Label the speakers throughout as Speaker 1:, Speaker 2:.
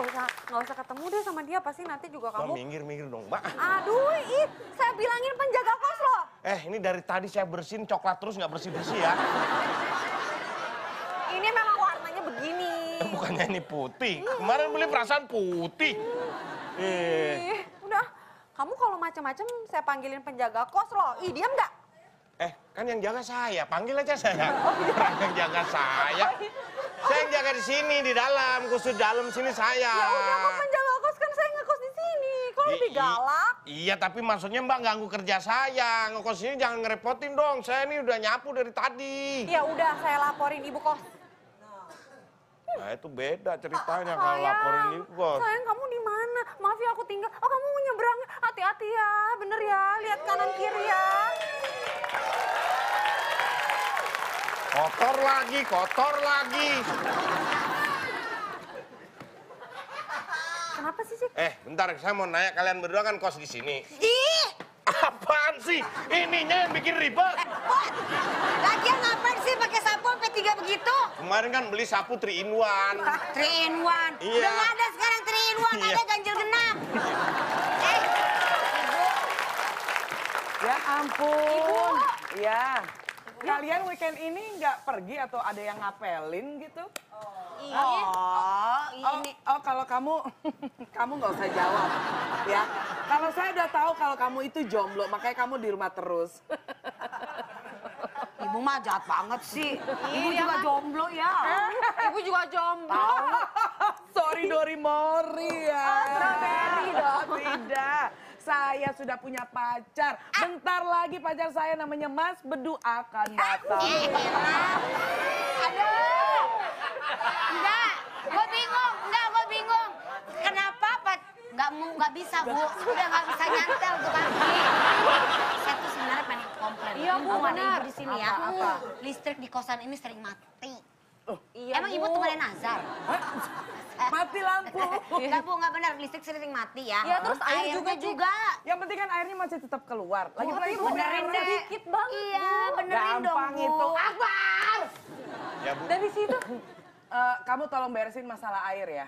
Speaker 1: Iya, kamu deh sama dia pasti nanti juga
Speaker 2: Mbak
Speaker 1: kamu.
Speaker 2: minggir minggir dong mbak.
Speaker 1: Aduh, ih, saya bilangin penjaga kos loh.
Speaker 2: Eh ini dari tadi saya bersihin coklat terus nggak bersih bersih ya.
Speaker 1: Ini memang warnanya begini.
Speaker 2: Bukannya ini putih. Kemarin beli perasaan putih. Eh,
Speaker 1: Ih, udah. Kamu kalau macam-macam saya panggilin penjaga kos loh. Ih, diam nggak?
Speaker 2: eh kan yang jaga saya, panggil aja saya.
Speaker 1: Oh, iya.
Speaker 2: Orang yang jaga saya. Saya yang jaga di sini di dalam, khusus dalam sini saya.
Speaker 1: Ya udah, kok penjaga kos kan saya ngekos di sini. Kok lebih
Speaker 2: I- i-
Speaker 1: galak?
Speaker 2: Iya, tapi maksudnya Mbak ganggu kerja saya. Ngekos ini jangan ngerepotin dong. Saya ini udah nyapu dari tadi.
Speaker 1: Ya udah, saya laporin ibu kos.
Speaker 2: Nah, itu beda ceritanya kalau
Speaker 1: Sayang,
Speaker 2: laporin ibu kos.
Speaker 1: Sayang, kamu di mana? Maaf ya aku tinggal. Oh, kamu mau nyebrang. Hati-hati ya, bener ya. Lihat kanan kiri ya.
Speaker 2: Kotor lagi, kotor lagi.
Speaker 1: Kenapa sih sih?
Speaker 2: Eh, bentar, saya mau nanya kalian berdua kan kos di sini.
Speaker 3: Ih,
Speaker 2: Apaan sih? Ininya yang bikin ribet.
Speaker 3: pot. Lagian ngapain sih pakai sapu sampai tiga begitu? Ah,
Speaker 2: Kemarin kan beli sapu 3 in 1.
Speaker 3: Three in one.
Speaker 2: Iya.
Speaker 3: Udah nggak ada sekarang three in one,
Speaker 2: Iya.
Speaker 3: ada ganjil genap. eh, ibu,
Speaker 4: Ya ampun. Ya.
Speaker 1: Ya.
Speaker 4: Kalian weekend ini nggak pergi atau ada yang ngapelin gitu?
Speaker 3: iya. Oh,
Speaker 4: Oh,
Speaker 3: ini.
Speaker 4: oh kalau kamu, kamu nggak usah jawab. Ya. Kalau saya udah tahu kalau kamu itu jomblo, makanya kamu di rumah terus.
Speaker 3: Ibu mah jahat banget sih. Ibu
Speaker 1: Iya,
Speaker 3: juga
Speaker 1: Mak.
Speaker 3: jomblo ya.
Speaker 1: Ibu juga jomblo.
Speaker 4: Sorry Dori Mori ya.
Speaker 1: Oh, strawberry dong.
Speaker 4: Oh, Tidak. Saya sudah punya pacar. Bentar lagi pacar saya namanya Mas Bedu akan datang.
Speaker 1: Eh.
Speaker 3: Ih, elah. Aduh. Enggak, gue bingung. Enggak, gue bingung. Kenapa Pak? Enggak mau, enggak bisa, Bu. Udah enggak bisa nyantel tuh kaki. Saya tuh sebenarnya pengen komplain.
Speaker 1: Iya, Bu,
Speaker 3: Sama
Speaker 1: benar.
Speaker 3: Ibu di sini ya.
Speaker 4: Apa, apa?
Speaker 3: Listrik di kosan ini sering mati.
Speaker 1: Iya,
Speaker 3: Emang
Speaker 1: Bu.
Speaker 3: Ibu temenin Nazar?
Speaker 4: Mati lampu.
Speaker 3: Enggak, Bu, enggak benar. Listrik sering mati ya.
Speaker 1: Iya, terus air juga,
Speaker 3: Airnya
Speaker 1: Ci.
Speaker 3: juga.
Speaker 4: Yang penting kan airnya masih tetap keluar. Lagi pula
Speaker 1: Tapi
Speaker 4: ibu
Speaker 1: benerin
Speaker 4: benerin
Speaker 1: deh.
Speaker 4: lagi.
Speaker 1: Dikit banget,
Speaker 3: Iya,
Speaker 1: Bu.
Speaker 3: benerin
Speaker 4: Gampang
Speaker 3: dong, Bu.
Speaker 4: itu.
Speaker 3: Akbar!
Speaker 2: Ya, Bu.
Speaker 1: Dari situ.
Speaker 4: Eh, kamu tolong beresin masalah air ya.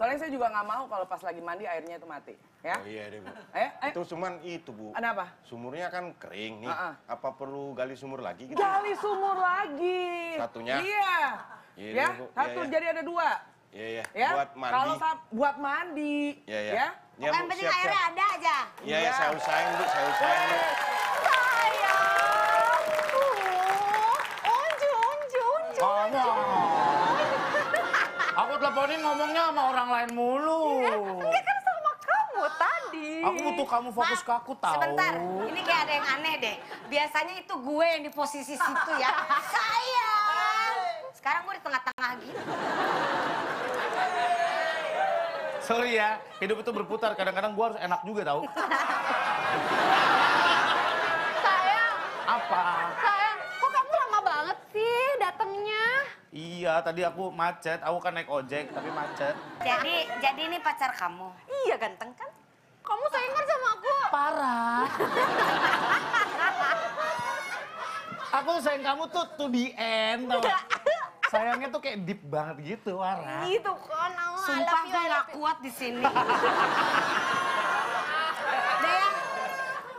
Speaker 4: Soalnya saya juga nggak mau kalau pas lagi mandi airnya itu mati. Ya?
Speaker 2: Oh iya deh, Bu.
Speaker 4: Ayo, ayo.
Speaker 2: Itu cuman itu, Bu.
Speaker 4: Ada apa?
Speaker 2: Sumurnya kan kering nih.
Speaker 4: Ah,
Speaker 2: Apa perlu gali sumur lagi gitu?
Speaker 4: Gali sumur lagi.
Speaker 2: Satunya?
Speaker 4: Iya.
Speaker 2: Iya,
Speaker 4: ya,
Speaker 2: Bu. Iya,
Speaker 4: satu
Speaker 2: iya.
Speaker 4: jadi ada dua.
Speaker 2: Iya, iya.
Speaker 4: Ya.
Speaker 2: Buat mandi.
Speaker 4: Kalau sa- buat mandi.
Speaker 2: Iya, iya.
Speaker 4: Ya.
Speaker 2: Ya,
Speaker 3: Pokoknya
Speaker 2: Bu,
Speaker 3: yang penting
Speaker 2: siap,
Speaker 3: airnya
Speaker 2: siap.
Speaker 3: ada aja.
Speaker 2: Iya, iya, saya usahain, Bu. Saya usahain. Bu.
Speaker 1: ya? Sayang. Uh, unju, unju, unju.
Speaker 5: Kamu, aku teleponin ngomongnya sama orang lain mulu.
Speaker 1: Enggak kan sama kamu tadi.
Speaker 5: Aku butuh kamu fokus ke aku tahu.
Speaker 3: Sebentar, ini kayak ada yang aneh deh. Biasanya itu gue yang di posisi situ ya. Saya. Sekarang gue di tengah-tengah gitu.
Speaker 5: Sorry ya, hidup itu berputar. Kadang-kadang gua harus enak juga tahu.
Speaker 1: Sayang,
Speaker 5: Apa?
Speaker 1: sayang. Kok kamu lama banget sih datangnya?
Speaker 5: Iya, tadi aku macet. Aku kan naik ojek, tapi macet.
Speaker 3: Jadi, jadi ini pacar kamu.
Speaker 1: Iya, ganteng kan? Kamu sayang kan sama aku?
Speaker 5: Aku sayang kamu tuh to the end, tau nggak? Sayangnya tuh kayak deep banget gitu, Wara.
Speaker 1: Gitu kan, aku I
Speaker 3: Sumpah
Speaker 1: love you, I
Speaker 3: gue gak
Speaker 1: love you.
Speaker 3: kuat di sini. Udah ya?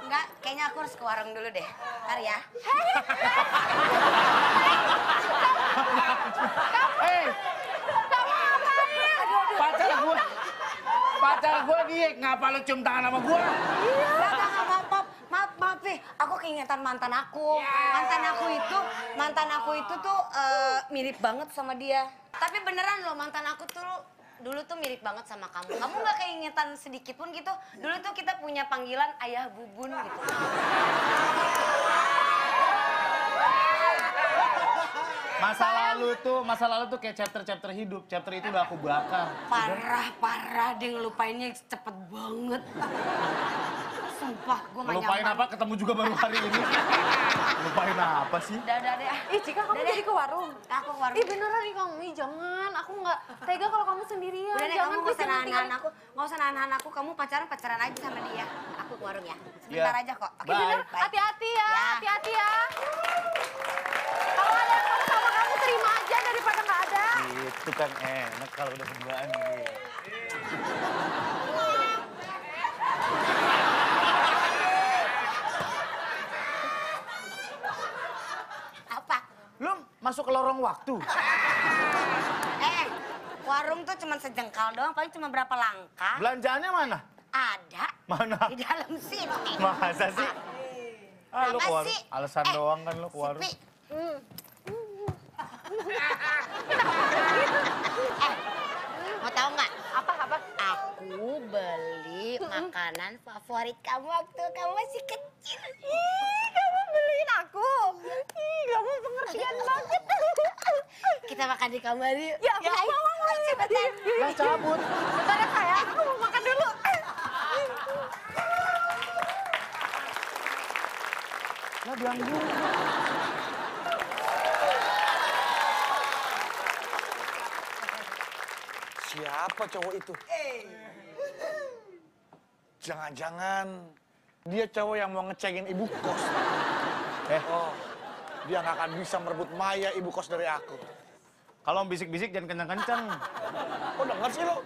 Speaker 3: Enggak, kayaknya aku harus ke warung dulu deh. Ntar ya.
Speaker 5: Eh, pacar gua, pacar gua dia ngapa lu cium tangan sama gua?
Speaker 3: Enggak, enggak, enggak, maaf, maaf, maaf, maaf, Fi. Aku keingetan mantan aku. Mantan aku itu, mantan aku itu tuh eh, mirip banget sama dia. Tapi beneran loh, mantan aku tuh dulu tuh mirip banget sama kamu. Kamu nggak keingetan sedikit pun gitu. Dulu tuh kita punya panggilan ayah bubun gitu.
Speaker 5: Masa lalu tuh, masa lalu tuh kayak chapter-chapter hidup. Chapter itu udah aku bakar.
Speaker 3: Parah, parah. Dia ngelupainnya cepet banget. Sumpah, gue gak
Speaker 5: Lupain
Speaker 3: nyaman.
Speaker 5: apa? Ketemu juga baru hari ini. Lupain apa sih?
Speaker 3: Udah, udah, udah.
Speaker 1: Ih, Cika kamu
Speaker 3: Udah deh.
Speaker 1: jadi ke warung.
Speaker 3: Aku ke warung.
Speaker 1: Ih beneran nih kamu, ih jangan. Aku nggak tega kalau kamu sendirian.
Speaker 3: Udah deh,
Speaker 1: jangan
Speaker 3: kamu gak usah
Speaker 1: jangan
Speaker 3: nahan-nahan aku. Gak usah nahan-nahan aku, kamu pacaran-pacaran aja sama dia. Aku ke warung ya. Sebentar
Speaker 5: Iya.
Speaker 3: aja kok. Oke,
Speaker 5: Bye.
Speaker 3: bener.
Speaker 1: tinggal. Hati-hati ya,
Speaker 3: Ya.
Speaker 1: hati-hati ya. Kalau ada yang mau sama kamu terima aja daripada nggak ada.
Speaker 5: Itu kan enak kalau udah berduaan gitu.
Speaker 3: Apa?
Speaker 6: Lu masuk ke lorong waktu.
Speaker 3: Eh, warung tuh cuma sejengkal doang, paling cuma berapa langkah.
Speaker 6: Belanjaannya mana?
Speaker 3: Ada.
Speaker 6: Mana?
Speaker 3: Di dalam sini.
Speaker 6: Masa sih? Ah, lu
Speaker 3: Apa
Speaker 6: keluar.
Speaker 3: sih?
Speaker 6: Alasan
Speaker 3: Eh,
Speaker 6: doang kan lu keluar.
Speaker 3: Sipi. Hmm. Eh, mau tahu nggak? Apa apa? Aku beli makanan favorit kamu waktu kamu masih kecil.
Speaker 1: Ih, kamu beliin aku. Ih, kamu pengertian banget.
Speaker 3: Kita makan di kamar yuk.
Speaker 1: Ya, aku mau, mau, mau.
Speaker 3: cepetan.
Speaker 6: Lah cabut.
Speaker 1: Bentar ya, sayang. Aku mau makan dulu.
Speaker 6: Lah bilang dulu.
Speaker 2: Siapa cowok itu? Jangan-jangan dia cowok yang mau ngecengin ibu kos. Eh, oh, dia nggak akan bisa merebut Maya ibu kos dari aku.
Speaker 6: Kalau bisik-bisik jangan kenceng-kenceng.
Speaker 2: Kok denger sih lo?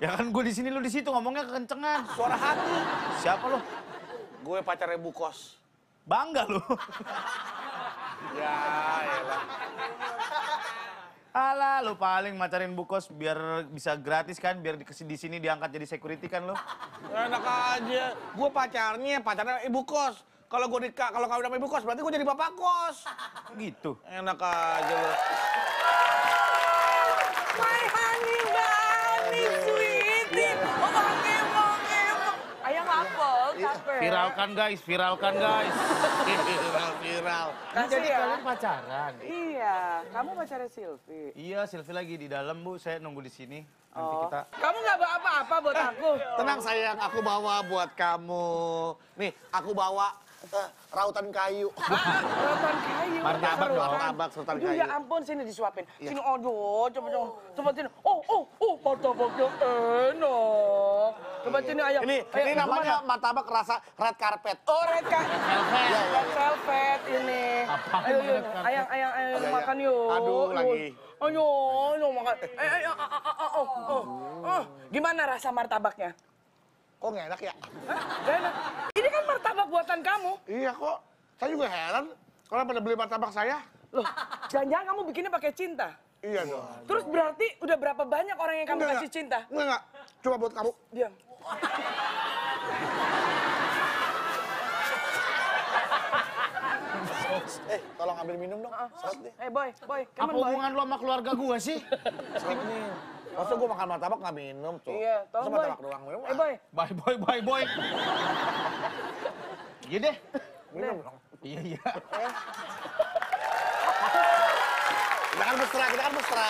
Speaker 6: Ya kan gue di sini lu di situ ngomongnya kekencengan.
Speaker 2: Suara hati.
Speaker 6: Siapa lu?
Speaker 2: Gue pacar ibu kos.
Speaker 6: Bangga lu.
Speaker 2: Ya, elah.
Speaker 6: Alah, lu paling macarin bukos biar bisa gratis kan, biar di di sini diangkat jadi security kan lu.
Speaker 2: Enak aja. Gue pacarnya, pacarnya ibu kos. Kalau gue nikah, kalau kawin sama ibu kos, berarti gue jadi bapak kos.
Speaker 6: Gitu.
Speaker 2: Enak aja lo.
Speaker 4: My honey, bunny,
Speaker 2: Iya.
Speaker 4: sweetie. Oh, monge, monge. Ayang apel,
Speaker 2: Iya.
Speaker 4: capek.
Speaker 6: Viralkan guys, viralkan guys.
Speaker 2: Viral, viral.
Speaker 4: Kasih
Speaker 6: Jadi
Speaker 4: ya.
Speaker 6: kalian pacaran.
Speaker 4: Iya, kamu pacarnya Silvi.
Speaker 6: Iya, Silvi lagi di dalam, Bu. Saya nunggu di sini. Nanti
Speaker 4: Oh.
Speaker 6: kita
Speaker 4: Kamu nggak bawa apa-apa buat aku.
Speaker 2: Tenang sayang, aku bawa buat kamu. Nih, aku bawa eh, rautan kayu.
Speaker 4: Sultan kayu.
Speaker 6: Martabak
Speaker 4: seru.
Speaker 6: dong.
Speaker 2: Martabak, sultan
Speaker 4: Aduh,
Speaker 2: kayu. Iya.
Speaker 4: Ya ampun, sini disuapin. Sini, aduh, coba coba. Coba sini. Oh, oh, oh, martabaknya enak. Coba sini, ayo.
Speaker 2: Ini,
Speaker 4: Ayo,
Speaker 2: ini namanya Eh, martabak rasa red carpet.
Speaker 4: Oh, red carpet. Red velvet ini.
Speaker 6: Apaan
Speaker 4: Ayo, yuk.
Speaker 6: red carpet?
Speaker 4: Ayang, ayang, ayang,
Speaker 2: Iya,
Speaker 4: makan
Speaker 2: iya.
Speaker 4: yuk.
Speaker 2: Aduh, lagi.
Speaker 4: Ayo, ayo makan. Eh, ayo, ah, ah, ah, oh, oh, oh. Gimana rasa martabaknya?
Speaker 2: Kok nggak enak ya?
Speaker 4: Hah? Gak enak. Ini kan martabak buatan kamu.
Speaker 2: Iya kok. Saya juga heran. Kalau pada beli martabak saya,
Speaker 4: Loh, jangan-jangan kamu bikinnya pakai cinta.
Speaker 2: iya dong.
Speaker 4: Terus berarti udah berapa banyak orang yang kamu kasih cinta?
Speaker 2: Enggak, enggak. Coba buat kamu.
Speaker 4: Diam.
Speaker 2: Eh, tolong ambil minum dong. Saut deh.
Speaker 4: Eh, boy, boy,
Speaker 6: Apa
Speaker 4: kamu boy.
Speaker 6: hubungan lu sama keluarga gua sih?
Speaker 2: Saut nih. Masa gue makan martabak nggak minum tuh?
Speaker 4: Iya,
Speaker 2: Masa
Speaker 4: tolong boy.
Speaker 2: martabak doang minum?
Speaker 4: Eh, boy,
Speaker 6: Bye boy, bye boy. Iya deh.
Speaker 2: Minum dong.
Speaker 6: Iya, iya.
Speaker 2: Kita kan mesra, kita kan mesra.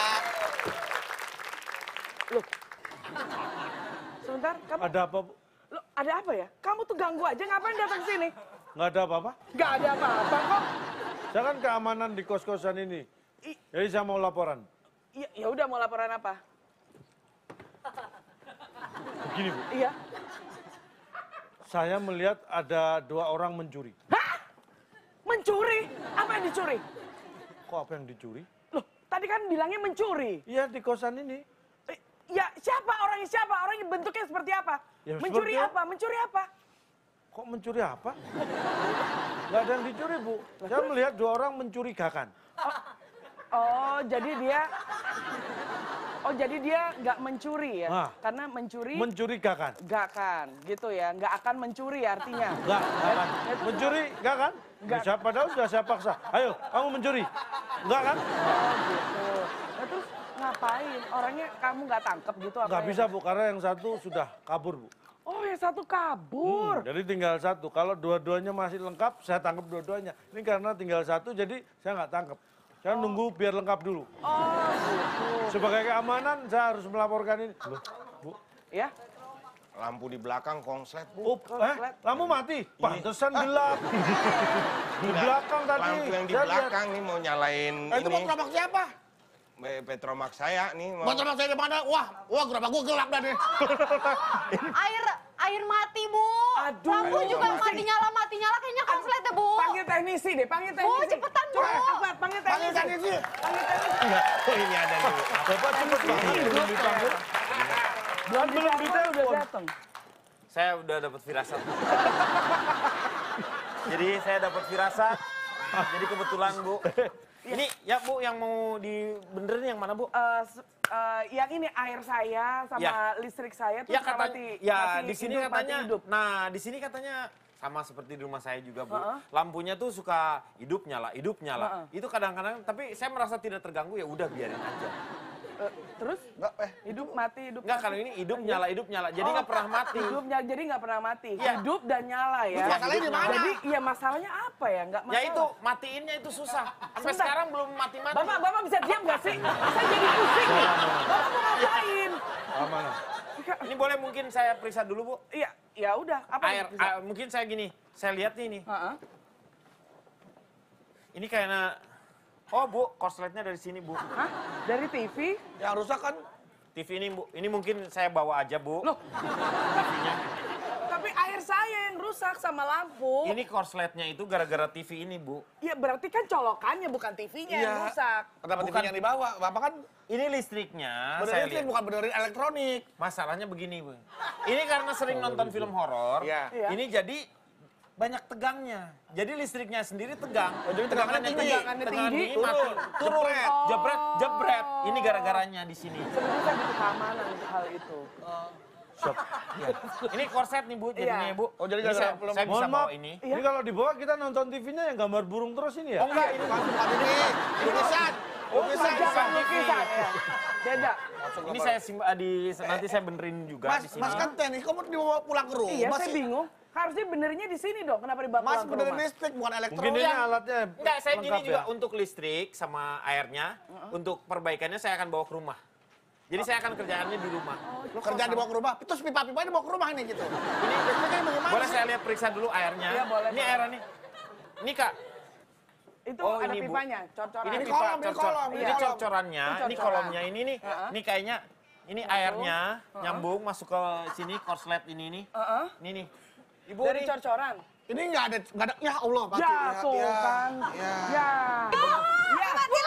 Speaker 4: sebentar. Kamu
Speaker 7: Ada apa, Bu?
Speaker 4: Loh, ada apa ya? Kamu tuh ganggu aja, ngapain datang sini?
Speaker 7: Nggak ada apa-apa?
Speaker 4: Gak ada apa-apa kok.
Speaker 7: Saya kan keamanan di kos-kosan ini.
Speaker 4: I-
Speaker 7: Jadi saya mau laporan.
Speaker 4: Ya, ya udah mau laporan apa?
Speaker 7: Begini, Bu.
Speaker 4: Iya.
Speaker 7: Saya melihat ada dua orang mencuri.
Speaker 4: Hah? Mencuri? Apa yang dicuri?
Speaker 7: Kok apa yang dicuri?
Speaker 4: Loh, tadi kan bilangnya mencuri.
Speaker 7: Iya, di kosan ini.
Speaker 4: Eh, Ya, siapa orangnya siapa? Orangnya bentuknya seperti apa?
Speaker 7: Ya,
Speaker 4: mencuri
Speaker 7: seperti-
Speaker 4: apa? Mencuri apa?
Speaker 7: Kok mencuri apa? Nggak ada yang dicuri, Bu. Saya melihat dua orang mencurigakan.
Speaker 4: Oh, jadi dia Oh, jadi dia nggak mencuri ya?
Speaker 7: Ah.
Speaker 4: Karena mencuri
Speaker 7: Mencurigakan.
Speaker 4: nggak akan, gitu ya. Nggak akan mencuri artinya.
Speaker 7: Nggak, nggak kan? Mencuri, nggak kan?
Speaker 4: Nggak.
Speaker 7: Bisa, padahal sudah saya paksa. Ayo, kamu mencuri. Nggak kan?
Speaker 4: Oh, gitu. Nah, terus ngapain? Orangnya kamu nggak tangkep gitu apa?
Speaker 7: Nggak
Speaker 4: ya?
Speaker 7: bisa, Bu, karena yang satu sudah kabur, Bu. Hmm,
Speaker 4: Oh, yang satu kabur.
Speaker 7: Jadi tinggal satu. Kalau dua-duanya masih lengkap, saya tangkap dua-duanya. Ini karena tinggal satu, jadi saya nggak tangkap. Saya nunggu biar lengkap dulu.
Speaker 4: Oh,
Speaker 7: Sebagai keamanan, saya harus melaporkan ini. Loh, bu,
Speaker 4: ya.
Speaker 8: Lampu di belakang konslet, Bu.
Speaker 7: up, eh, lampu mati. Pantesan gelap. di belakang tadi.
Speaker 8: Lampu yang di
Speaker 7: Saya lihat.
Speaker 8: belakang nih mau nyalain
Speaker 2: Eh, itu
Speaker 8: ini.
Speaker 2: mau gerobak siapa?
Speaker 8: Be- Petromax saya nih mau.
Speaker 2: Mau gerobak saya di mana? Wah, wah gerobak gue gelap dah deh.
Speaker 1: Air, air mati, Bu.
Speaker 4: Aduh.
Speaker 1: Lampu Oh, juga
Speaker 4: Aduh.
Speaker 1: mati nyala, mati nyala. Kayaknya konslet ya, Bu.
Speaker 4: Panggil teknisi deh, panggil teknisi.
Speaker 1: cepetan, Bu.
Speaker 4: Coba, Akbar, panggil teknisi. Iya,
Speaker 2: Panggil teknisi.
Speaker 4: Panggil teknisi.
Speaker 8: Oh, ini ada nih.
Speaker 7: Iya,
Speaker 4: Iya.
Speaker 7: Bapak cepet banget. belum dipanggil. Kan Belum belum ditelepon.
Speaker 4: datang.
Speaker 6: Saya udah dapat firasat. jadi saya dapat firasat. Jadi kebetulan Bu. Ini ya Bu yang mau dibenerin yang mana Bu?
Speaker 4: Eh, s- eh, yang ini air saya sama
Speaker 6: Ya.
Speaker 4: listrik saya tuh
Speaker 6: Ya
Speaker 4: suka
Speaker 6: katanya,
Speaker 4: mati,
Speaker 6: ya
Speaker 4: mati
Speaker 6: di sini
Speaker 4: hidup, mati
Speaker 6: katanya.
Speaker 4: hidup.
Speaker 6: Nah di sini katanya sama seperti di rumah saya juga bu. Lampunya tuh suka hidup nyala, hidup nyala. Itu kadang-kadang, tapi saya merasa tidak terganggu ya udah biarin aja.
Speaker 4: Eh, terus
Speaker 9: Enggak, eh.
Speaker 4: hidup mati hidup.
Speaker 6: Enggak
Speaker 4: mati.
Speaker 6: kalau ini hidup nyala, hidup nyala. Jadi nggak pernah mati.
Speaker 4: Hidup nya- Oh. jadi nggak pernah mati.
Speaker 6: Iya.
Speaker 4: Hidup dan nyala ya.
Speaker 9: masalahnya di mana?
Speaker 4: Jadi ya masalahnya apa ya? Nggak
Speaker 6: Ya
Speaker 4: masalah.
Speaker 6: itu matiinnya itu susah. Sampai
Speaker 4: Sebentar.
Speaker 6: sekarang belum mati-mati.
Speaker 4: Bapak, bapak bisa diam nggak sih? Saya jadi pusing. nih. Bapak mau ngapain?
Speaker 7: Amanah.
Speaker 6: Ini boleh mungkin saya periksa dulu bu.
Speaker 4: Iya, ya udah. Apa?
Speaker 6: Air,
Speaker 4: bisa?
Speaker 6: air- mungkin saya gini, saya lihat nih nih.
Speaker 4: Heeh.
Speaker 6: Ini kayaknya, oh bu, korsletnya dari sini bu.
Speaker 4: Hah? Dari TV?
Speaker 9: Yang rusak kan
Speaker 6: TV ini bu, ini mungkin saya bawa aja bu.
Speaker 4: Loh. Tapi air saya yang rusak sama lampu.
Speaker 6: Ini korsletnya itu gara-gara TV ini, Bu.
Speaker 4: Ya berarti kan colokannya bukan TV-nya yang
Speaker 9: Iya.
Speaker 4: rusak.
Speaker 9: kenapa
Speaker 6: Bukan.
Speaker 9: TV yang dibawa? Bapak kan
Speaker 6: Ini
Speaker 8: Ah,
Speaker 6: listriknya, saya
Speaker 9: benerin listrik,
Speaker 6: lihat.
Speaker 9: bukan benerin elektronik.
Speaker 6: Masalahnya begini, Bu. Ini karena sering nonton film horor,
Speaker 9: gitu. Iya.
Speaker 4: Iya.
Speaker 6: ini jadi banyak tegangnya. Jadi listriknya sendiri tegang.
Speaker 9: Oh, jadi tegangannya
Speaker 6: Tegangannya
Speaker 9: tinggi.
Speaker 6: tegangannya tinggi,
Speaker 4: Tinggi,
Speaker 6: mati.
Speaker 9: turun,
Speaker 6: Turun,
Speaker 9: jebret.
Speaker 4: Oh.
Speaker 6: jebret, jebret. Ini gara-garanya di sini.
Speaker 4: Sebenarnya saya butuh keamanan untuk hal itu.
Speaker 6: Ini korset nih, Bu, jadinya,
Speaker 4: Iya.
Speaker 6: Bu.
Speaker 9: Oh, jadi
Speaker 6: Ini saya,
Speaker 9: gara-gara film
Speaker 6: saya bisa
Speaker 7: Mohon
Speaker 6: bawa
Speaker 7: maaf,
Speaker 6: ini. Iya.
Speaker 7: ini kalau dibawa kita nonton TV-nya yang gambar burung terus ini ya?
Speaker 6: Oh enggak, ini
Speaker 9: Bukan, bukan ini. Lukisan.
Speaker 6: Oh,
Speaker 4: Oh,
Speaker 9: Lukisan.
Speaker 4: Jangan lukisan ya. Beda.
Speaker 6: ini saya simpan di nanti saya benerin juga
Speaker 9: Mas,
Speaker 6: di sini.
Speaker 9: mas kan teknik, kamu dibawa pulang ke rumah
Speaker 4: Iya, saya
Speaker 9: sih?
Speaker 4: bingung. Harusnya benernya di sini dong. Kenapa dibawa
Speaker 9: Mas
Speaker 4: pulang ke
Speaker 9: benerin
Speaker 4: rumah?
Speaker 9: listrik, bukan
Speaker 7: Mungkin
Speaker 9: elektronik.
Speaker 7: ini alatnya
Speaker 6: Enggak, saya gini
Speaker 7: lengkap
Speaker 6: juga
Speaker 7: ya?
Speaker 6: untuk listrik sama airnya, untuk perbaikannya saya akan bawa ke rumah. Jadi saya akan kerjaannya di rumah.
Speaker 9: Lu kerjaan dibawa ke rumah, terus pipa-pipa dibawa ke rumah nih gitu. Ini listriknya bagaimana
Speaker 6: Boleh
Speaker 9: sih?
Speaker 6: saya lihat periksa dulu airnya?
Speaker 4: Iya, boleh,
Speaker 6: Ini
Speaker 4: boleh.
Speaker 6: airnya nih. Ini Kak,
Speaker 4: Itu
Speaker 6: Oh,
Speaker 4: ada
Speaker 6: ini, Bu.
Speaker 4: pipanya, cor-coran.
Speaker 6: ini
Speaker 9: Ini
Speaker 6: pipa
Speaker 9: kolom, ini
Speaker 6: cor-cor.
Speaker 9: kolom, ini
Speaker 6: Ini
Speaker 9: kolom.
Speaker 6: cor-corannya,
Speaker 4: Ini
Speaker 6: ini
Speaker 4: cor-coran.
Speaker 6: kolomnya ini nih.
Speaker 4: Heeh.
Speaker 6: Ini kayaknya ini airnya nyambung masuk ke sini korslet ini nih.
Speaker 4: Heeh.
Speaker 6: Ini nih. Ibu
Speaker 4: Dari
Speaker 6: nih.
Speaker 4: cor-coran.
Speaker 9: Ini nggak ada, nggak ada, ya Allah. mati.
Speaker 4: Ya, tuh kan.
Speaker 9: Ya.
Speaker 4: Ya. Ya.